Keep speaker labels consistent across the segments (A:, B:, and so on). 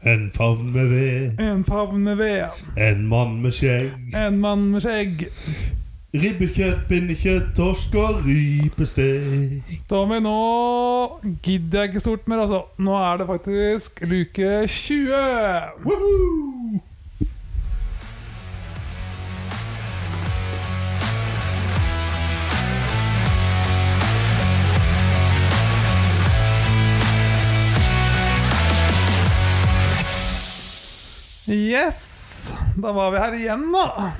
A: En favn med ved,
B: En favn med ved,
A: en mann med skjegg.
B: en mann med skjegg.
A: Ribbekjøtt, pinnekjøtt, torsk og rypestek.
B: Tommy, nå gidder jeg ikke stort mer, altså. Nå er det faktisk luke 20.
A: Woohoo!
B: Yes! Da var vi her igjen, da.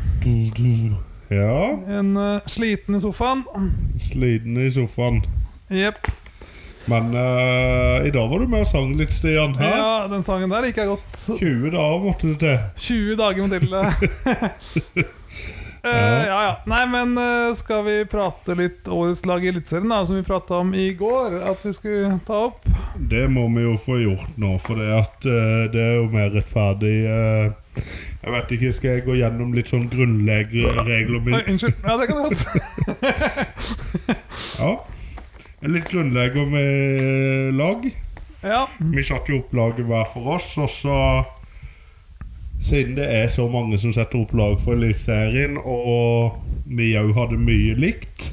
A: Ja,
B: En eh, sliten i sofaen.
A: sliten i sofaen.
B: Jepp.
A: Men eh, i dag var du med og sang litt, Stian. Hæ?
B: Ja, den sangen der liker jeg godt.
A: 20 dager måtte du til.
B: 20 dager med Mathilde. Eh, ja, ja. Nei, men eh, skal vi prate litt årets lag i Eliteserien, da, som vi prata om i går? At vi skulle ta opp?
A: Det må vi jo få gjort nå, for det, at, eh, det er jo mer rettferdig eh, Jeg vet ikke, skal jeg gå gjennom litt sånn grunnleggregler
B: Oi,
A: med
B: unnskyld. Ja, det kan du godt.
A: Ja. Litt grunnlegger med lag.
B: Ja.
A: Vi satte jo opp laget hver for oss, og så Siden det er så mange som setter opp lag for Eliteserien, og vi òg hadde mye likt,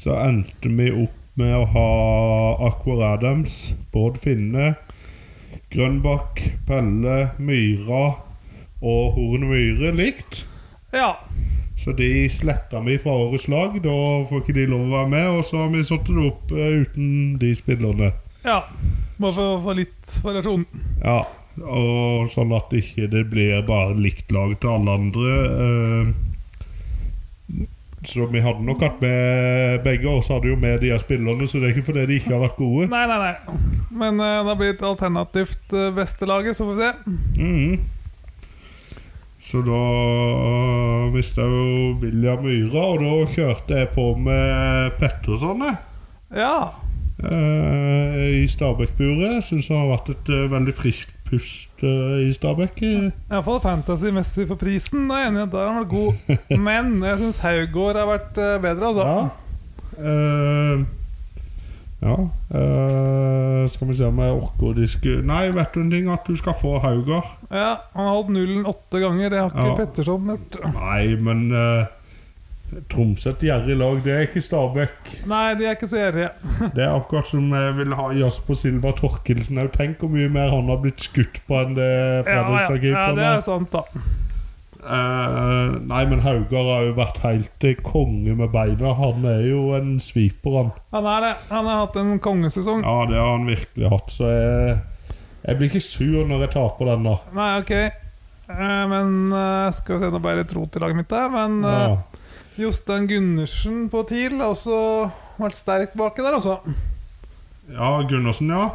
A: så endte vi opp med å ha Aquar Adams, Bård Finne, Grønbakk, Pelle, Myra og Horn Myhre likt.
B: ja.
A: Så de sletta vi fra årets lag. Da får ikke de lov å være med, og så har vi satt det opp eh, uten de spillerne.
B: Ja. Bare for å få litt variasjon.
A: Ja, og sånn at ikke det blir bare likt lag til alle andre. eh. Så vi hadde nok hatt med begge, og så hadde jo med de her spillerne, så det er ikke fordi de ikke har vært gode.
B: Nei, nei, nei. Men eh, da blir det et alternativt eh, beste laget, så får vi se.
A: Mhm. Så da mista jeg jo William Myhra, og da kjørte jeg på med Petterson jeg.
B: Ja.
A: Eh, i Stabæk-buret. Syns han har vært et eh, veldig friskt pust eh, i Stabæk. eh.
B: Iallfall fantasy-messig for prisen. Da er jeg enig i at der har han vært god. Men jeg syns Haugård har vært eh, bedre, altså.
A: Ja. Eh, ja eh, Skal vi se om jeg orker å diske Nei, vet du en ting? At du skal få Haugar.
B: Ja, Han har holdt nullen åtte ganger. Det har ikke
A: Ja.
B: Petterson gjort.
A: Nei, men uh, Tromsø et gjerrig lag, det er ikke Stabæk.
B: Nei, de er ikke så gjerrige.
A: Det er akkurat som jeg vil ha Jasper Silva Torkelsen òg. Tenk hvor mye mer han har blitt skutt på enn det
B: Ja, ja, ja,
A: Fredrikstad-keeperen
B: det
A: er.
B: er sant, da.
A: Eh, nei, men Haugar har jo vært helt eh, konge med beina. Han er jo en sviper, han.
B: Han er det. Han har hatt en kongesesong.
A: Ja, det har han virkelig hatt, så jeg, jeg blir ikke sur når jeg taper den, da.
B: Nei, ok. Eh, Men eh, skal vi se, nå ble jeg litt rot i laget mitt der. Men eh,
A: Ja.
B: Jostein Gundersen på TIL har også vært sterk baki der, altså.
A: ja, Gundersen, ja.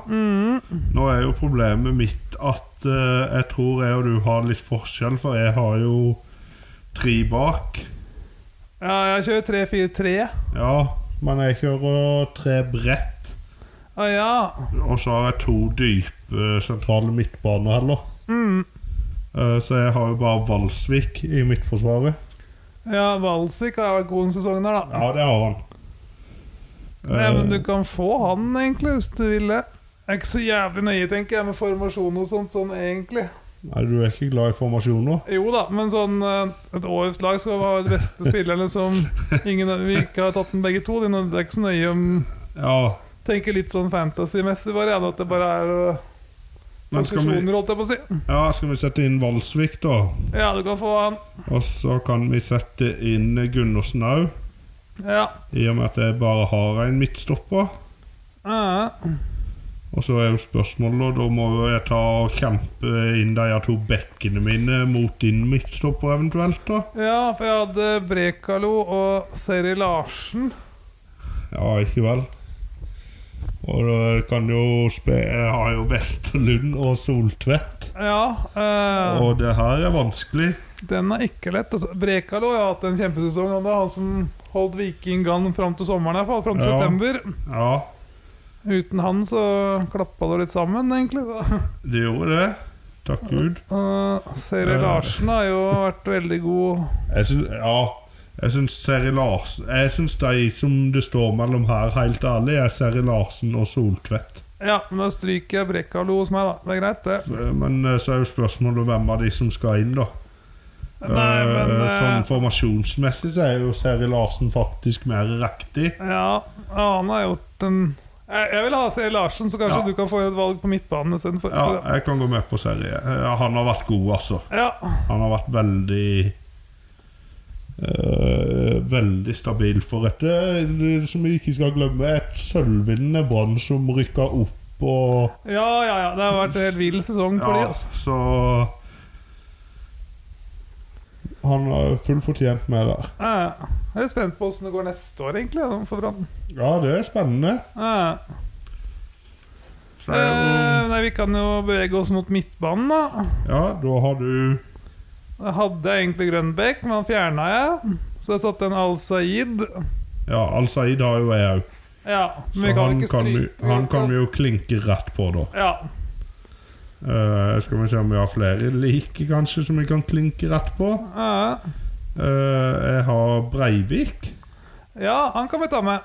A: Nå er jo problemet mitt at eh, jeg tror jeg og du har litt forskjell, for jeg har jo tre bak.
B: Ja, jeg kjører 3-4-3.
A: Ja, men jeg kjører tre bredt,
B: Ah, ja.
A: og så har jeg to dype eh, sentrale midtbaner heller.
B: Mm.
A: Eh, Så jeg har jo bare Valsvik i midtforsvaret.
B: ja, Valsvik har vært god en sesong der, da.
A: Ja, det har han. Eh,
B: Nei, men du kan få han, egentlig, hvis du vil det. Jeg er ikke så jævlig nøye, tenker jeg, med formasjon og sånt, sånn egentlig.
A: Nei, du er ikke glad i formasjoner?
B: Jo da, men sånn eh, et årets lag skal ha de beste spillerne som ingen, vi ikke har tatt den begge to. Det er ikke så nøye om
A: Ja,
B: Tenker litt sånn fantasy-messig bare, ja, at det bare er eh,
A: men skal vi,
B: posisjoner, holdt jeg på å si.
A: ja, skal vi sette inn Valsvik, da?
B: Ja, du kan få han.
A: Og så kan vi sette inn Gundersen òg,
B: Ja.
A: i og med at jeg bare har en midtstopper.
B: Ja,
A: Og så er jo spørsmålet, og da må jo jeg ta og kjempe inn de her to bekkene mine mot din midtstopper eventuelt, da.
B: ja, for jeg hadde Brekalo og Seri Larsen.
A: Ja, ikke vel? Og da kan jo spe... Jeg har jo Vesterlund og Soltvedt.
B: Ja, eh,
A: Og det her er vanskelig.
B: den er ikke lett. Altså, Brekalo har hatt en kjempesesong. Han, er han som holdt Vikingan fram til sommeren, i hvert fall. Fram til
A: Ja.
B: september.
A: Ja,
B: Uten han så klappa det litt sammen, egentlig. Da.
A: det gjorde det. Takk Gud.
B: Eh, Seri
A: Ja.
B: Larsen har jo vært veldig god.
A: Jeg syns, ja, jeg syns Seri Larsen Jeg syns de som det står mellom her, helt ærlig, er Seri Larsen og Soltvedt.
B: Ja, men da stryker jeg Brekkalo hos meg, da. Det er greit, det.
A: Eh, Men eh, så er jo spørsmålet hvem av de som skal inn, da.
B: Nei,
A: Eh,
B: men eh,
A: Sånn formasjonsmessig så er jo Seri Larsen faktisk mer riktig.
B: Ja, ja, han har gjort en Jeg, jeg vil ha C. Larsen, så kanskje
A: Ja.
B: du kan få inn et valg på midtbanen istedenfor.
A: Ja,
B: Ja.
A: jeg kan gå med på Seri. Eh, Han har vært god, altså.
B: ja.
A: Han har vært veldig eh, veldig stabil for et eh, Som vi ikke skal glemme, et sølvvinnende Brann som rykka opp og
B: Ja, ja, ja. Det har vært en helt vill sesong for de, altså.
A: Så Han har full fortjent med der.
B: Ja, ja. Jeg er spent på åssen det går neste år, egentlig, da, for Brann.
A: Ja, det er spennende.
B: Ja, ja.
A: Så det er jo-
B: Eh, Nei, vi kan jo bevege oss mot midtbanen, da.
A: Ja, da har du
B: Da hadde jeg egentlig Grønbekk, men han fjerna jeg. Så jeg satte en Al Said.
A: Ja, Al-Said har jo jeg òg.
B: Ja, men vi
A: Så
B: kan
A: han
B: ikke
A: kan, vi,
B: stryke
A: han kan vi jo klinke rett på, da.
B: Ja.
A: Eh, skal vi se om vi har flere like, kanskje, som vi kan klinke rett på.
B: Ja, ja.
A: Eh, jeg har Breivik.
B: ja, han kan vi ta med.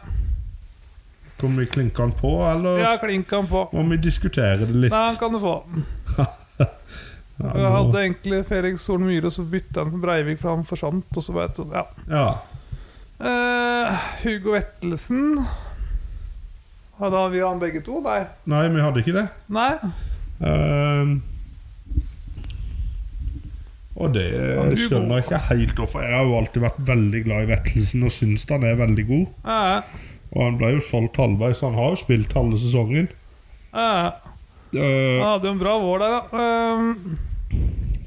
A: Kan vi klinke han på, eller
B: Ja, klink han på.
A: må vi diskutere det litt?
B: Nei, han kan du få.
A: Ja,
B: Jeg
A: nå-
B: hadde egentlig Felix Solen Myhre, og så bytta han med Breivik, for han forsvant. Og så bare, ja.
A: ja.
B: Eh, Hugo Vettelsen Hadde vi han begge to? Nei.
A: Nei, vi hadde ikke det.
B: Nei.
A: Ehm, og det
B: er jo
A: skjønner jeg ikke helt hvorfor. Jeg har jo alltid vært veldig glad i Vettelsen og syns han er veldig god.
B: Eh,
A: Og han ble jo solgt halvveis, så han har jo spilt halve sesongen.
B: eh.
A: Eh,
B: Han hadde jo en bra vår der, da. Eh,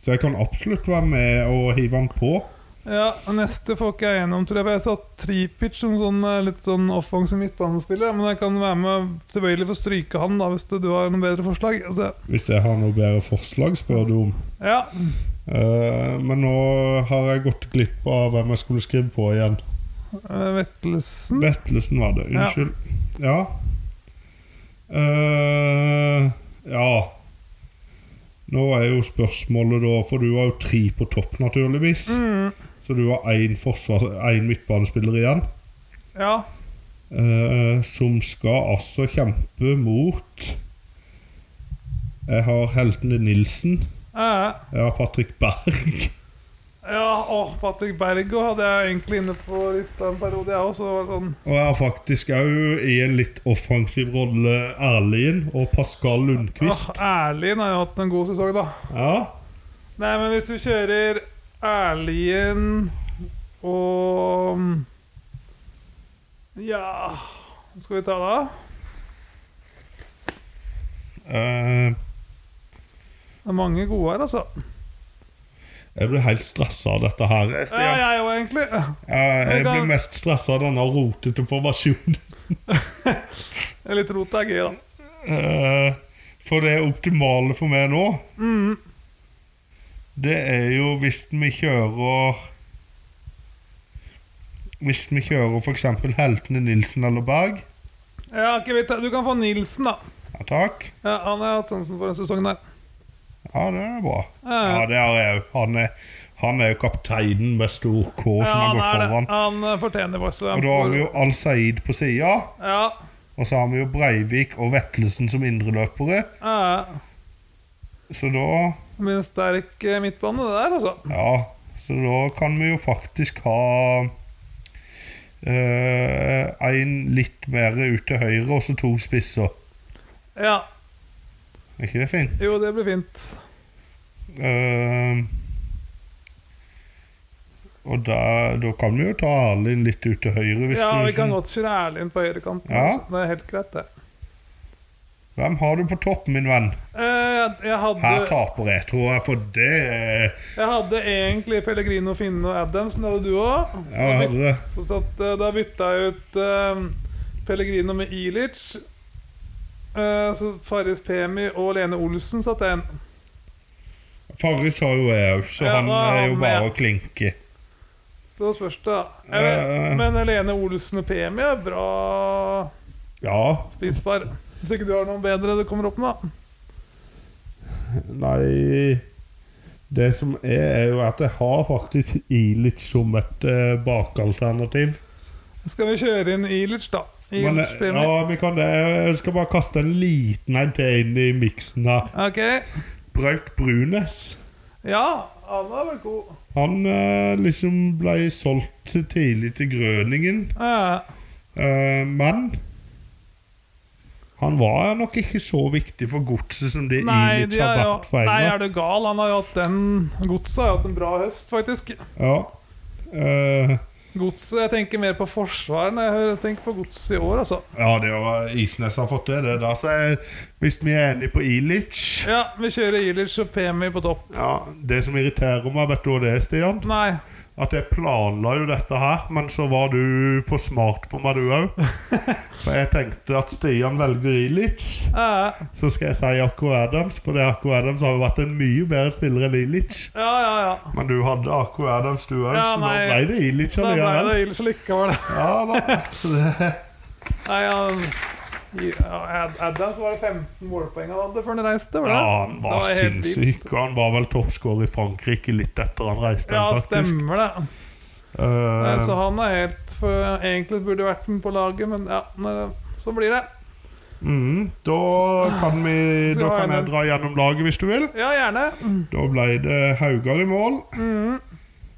A: så jeg kan absolutt være med og hive han på.
B: ja, Neste får ikke jeg gjennom, tror jeg. For jeg satt Tripic som sånn, eh, litt sånn offensiv midtbanespiller. Men jeg kan være med tilbøyelig for å stryke han, da, hvis det, du har noen bedre forslag. Altså,
A: Hvis jeg har noe bedre forslag, spør du om.
B: ja.
A: Eh, men nå har jeg gått glipp av hvem jeg skulle skrive på igjen.
B: eh, Vettelsen.
A: Vettelsen var det.
B: Ja.
A: Unnskyld. Ja. Eh, ja. Nå er jo spørsmålet, da For du har jo tre på topp, naturligvis.
B: Mm,
A: Så du har én forsvars- én midtbanespiller igjen.
B: ja.
A: eh, som skal altså kjempe mot Jeg har heltene Nilsen,
B: Eh.
A: jeg har Patrick Berg.
B: Ja, åh, Patrick Bergo hadde jeg egentlig inne på lista en periode, jeg også. Det var sånn,
A: Og jeg har faktisk òg i en litt offensiv rolle Erlien og Pascal
B: åh,
A: Lundqvist.
B: Erlien har jo hatt en god sesong, da.
A: Ja,
B: Nei, men hvis vi kjører Erlien og Ja Hva skal vi ta da?
A: eh,
B: Det er mange gode her, altså.
A: jeg blir helt stressa av dette her.
B: Ja,
A: Stian.
B: jeg òg, egentlig.
A: Eh, jeg
B: jeg kan-
A: blir mest stressa av denne rotete formasjonen.
B: Ja, Litt rot er gøy, da.
A: Eh, For det optimale for meg nå
B: Mm.
A: Det er jo hvis vi kjører Hvis vi kjører for eksempel heltene Nilsen eller Berg
B: Ja, ok, vi tar- Du kan få Nilsen, da.
A: Ja takk
B: Ja, han har jeg hatt sansen for en sesong der.
A: Ja det er bra
B: Ja.
A: Ja det er jeg jo han er, han er jo kapteinen med stor K som
B: Ja,
A: har
B: han,
A: gått
B: er det.
A: foran
B: han eh, fortjener bare så
A: Og da har vi jo Al-Said på siden
B: Ja,
A: Og så har vi jo Breivik og Vettelsen som indreløpere
B: ja.
A: Så da
B: Med en sterk eh, midtbane, det der, altså.
A: Ja, så da kan vi jo faktisk ha eh, en litt mer ut til høyre, og så to spisser.
B: Ja,
A: Er ikke det fint?
B: jo, det blir fint.
A: Eh, og da, da kan vi jo ta Erlend litt ut til høyre. Hvis
B: Ja,
A: du, liksom-
B: vi kan godt kjøre Erlend på høyrekanten.
A: Ja.
B: altså. Det er helt greit, det.
A: Hvem har du på topp, min venn?
B: Eh, jeg,
A: Her
B: hadde,
A: taper jeg, tror jeg, for det er-
B: jeg hadde egentlig Pellegrino, Finne og Adams, men det hadde du òg.
A: Ja, jeg hadde det.
B: Så satt, eh, da bytta jeg ut eh, Pellegrino med Ilic. Eh, så Farris Pemi og Lene Olsen satte jeg inn.
A: Farris har jo jeg òg, så
B: Ja,
A: han
B: da er
A: er jo
B: han
A: bare
B: med.
A: å klinke.
B: Så da spørs det, da. Jeg
A: Eh.
B: vet, men Lene Olsen og Pemi er bra
A: Ja,
B: spisepar. Hvis ikke du har noen bedre du kommer opp med, da.
A: Nei Det som er, er jo at jeg har faktisk Ilic som et eh, bakalternativ.
B: Skal vi kjøre inn Ilic, da? i
A: Men, eh,
B: spillet.
A: ja, vi kan det. Jeg skal bare kaste en liten en til inn i miksen her.
B: Ok.
A: Braut Brunes.
B: Ja, han var vel god.
A: Han eh, liksom ble solgt tidlig til Grøningen,
B: Ja,
A: eh, men han var nok ikke så viktig for godset som det
B: Nei,
A: Ilic
B: de har
A: har
B: jo,
A: vært for
B: nei,
A: Einar.
B: er du gal? Han har jo hatt den Godset har jo hatt en bra høst, faktisk.
A: Ja. Eh,
B: Godset Jeg tenker mer på forsvaret når jeg hører- tenker på godset i år, altså.
A: ja, det var Isnes har fått til det. Da, så jeg, hvis vi er enige på Ilic
B: Ja, vi kjører Ilic og Pemi på topp.
A: ja, Det som irriterer meg, vet du hva det er, Stian?
B: Nei.
A: at jeg planla jo dette her, men så var du for smart på meg, du òg. For jeg tenkte at Stian velger Ilic,
B: Ja,
A: så skal jeg si Akko Adams. For det Akko Adams har jo vært en mye bedre spiller enn Ilic.
B: ja, ja. ja.
A: Men du hadde Akko Adams, du òg,
B: Ja,
A: så
B: nei.
A: da ble det Ilic
B: Da ble
A: allikevel.
B: det Ilic likevel.
A: Ja, da. Så det,
B: Nei, han ja, Ad- Adams var det 15 målpoeng han hadde før han reiste. Var det?
A: ja, han var
B: Det helt vilt.
A: sinnssyk, og han var vel toppskårer i Frankrike litt etter han reiste
B: Ja,
A: hjem, faktisk.
B: stemmer det. Nei, Så
A: Eh,
B: han er helt for, Egentlig burde vært med på laget, men ja, når det- så blir det.
A: mm, da kan, vi,
B: Så
A: da
B: har jeg
A: kan jeg
B: den.
A: dra gjennom laget, hvis du vil.
B: Ja, gjerne.
A: Da ble det Haugar i mål.
B: Mm.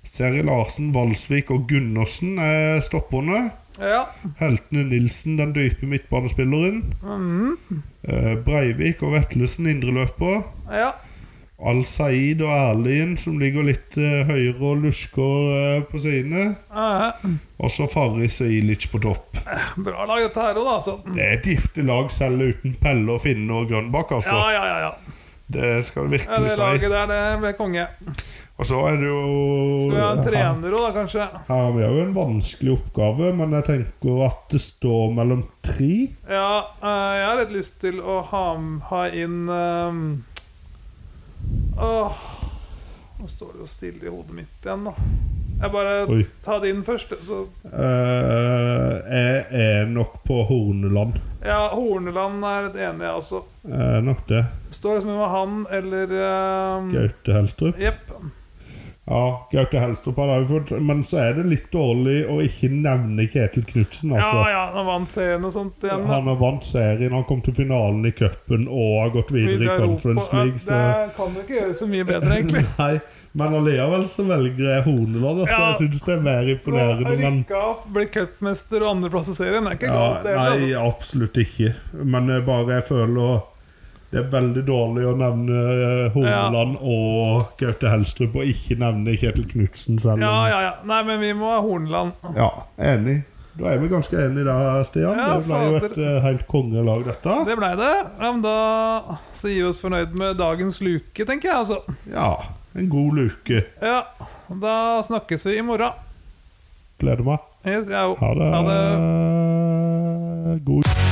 A: Seri Larsen, Valsvik og Gundersen er stopperne.
B: Ja.
A: Heltene Nilsen, den dype midtbanespilleren.
B: Mhm.
A: Eh, Breivik og Vetlesen, indreløper.
B: ja.
A: Al-Saeed og Erlien, som ligger litt eh, høyere og lusker eh, på sidene.
B: Ja,
A: Og så Farris og Ilic på topp.
B: Eh, Bra lag, dette her òg, da. altså. Så.
A: Det er et giftig lag, selv uten Pelle og Finne og Grønbakk, altså.
B: Ja, ja, ja, ja.
A: Det skal du
B: ja det
A: virkelig si.
B: laget der, det ble konge.
A: Og så er det jo
B: Skal vi ha en
A: Ja.
B: trener òg, da, kanskje?
A: Her har vi jo en vanskelig oppgave, men jeg tenker at det står mellom tre.
B: Ja, eh, jeg har litt lyst til å ha, ha inn ehm, Åh Nå står det jo stille i hodet mitt igjen, da. Jeg bare
A: Oi.
B: tar det inn først. Så,
A: Eh, jeg er nok på Horneland.
B: ja, Horneland er litt enig, jeg også.
A: Jeg er nok det.
B: Står liksom med han eller ehm,
A: Gaute Helstrup.
B: Jepp.
A: Ja, Gaute Helstrup har jeg jo fått, men så er det litt dårlig å ikke nevne Kjetil Knutsen,
B: Ja,
A: altså.
B: ja, han vant serien og sånt igjen. da.
A: Han har vant serien, han kom til finalen i cupen og har gått videre i
B: Videre Europa.
A: Conference League, så
B: Det kan jo ikke gjøre så mye bedre, egentlig.
A: Nei, men allikevel så velger jeg Horneland, altså.
B: Ja.
A: Jeg syns det er mer imponerende, men
B: Rykka opp, ble cupmester og andreplass i serien. Det er ikke
A: Ja,
B: galt, det.
A: nei,
B: altså.
A: absolutt ikke. Men jeg bare jeg føler det er veldig dårlig å nevne eh, Horneland og Gaute Helstrup og ikke nevne Kjetil Knutsen selv.
B: Ja,
A: om-
B: ja, ja. Nei, men vi må ha Hornland.
A: Ja, enig. Da er vi ganske enige der, Stian.
B: Ja,
A: det ble jo et
B: fader.
A: eh, helt kongelag, dette.
B: Det blei det. Ja, men da så gir vi oss fornøyd med dagens luke, tenker jeg. altså.
A: Ja, en god luke.
B: Ja, Da snakkes vi i morgen.
A: Gleder meg.
B: Yes, jeg er jo-
A: Ha det.
B: Ha det.
A: God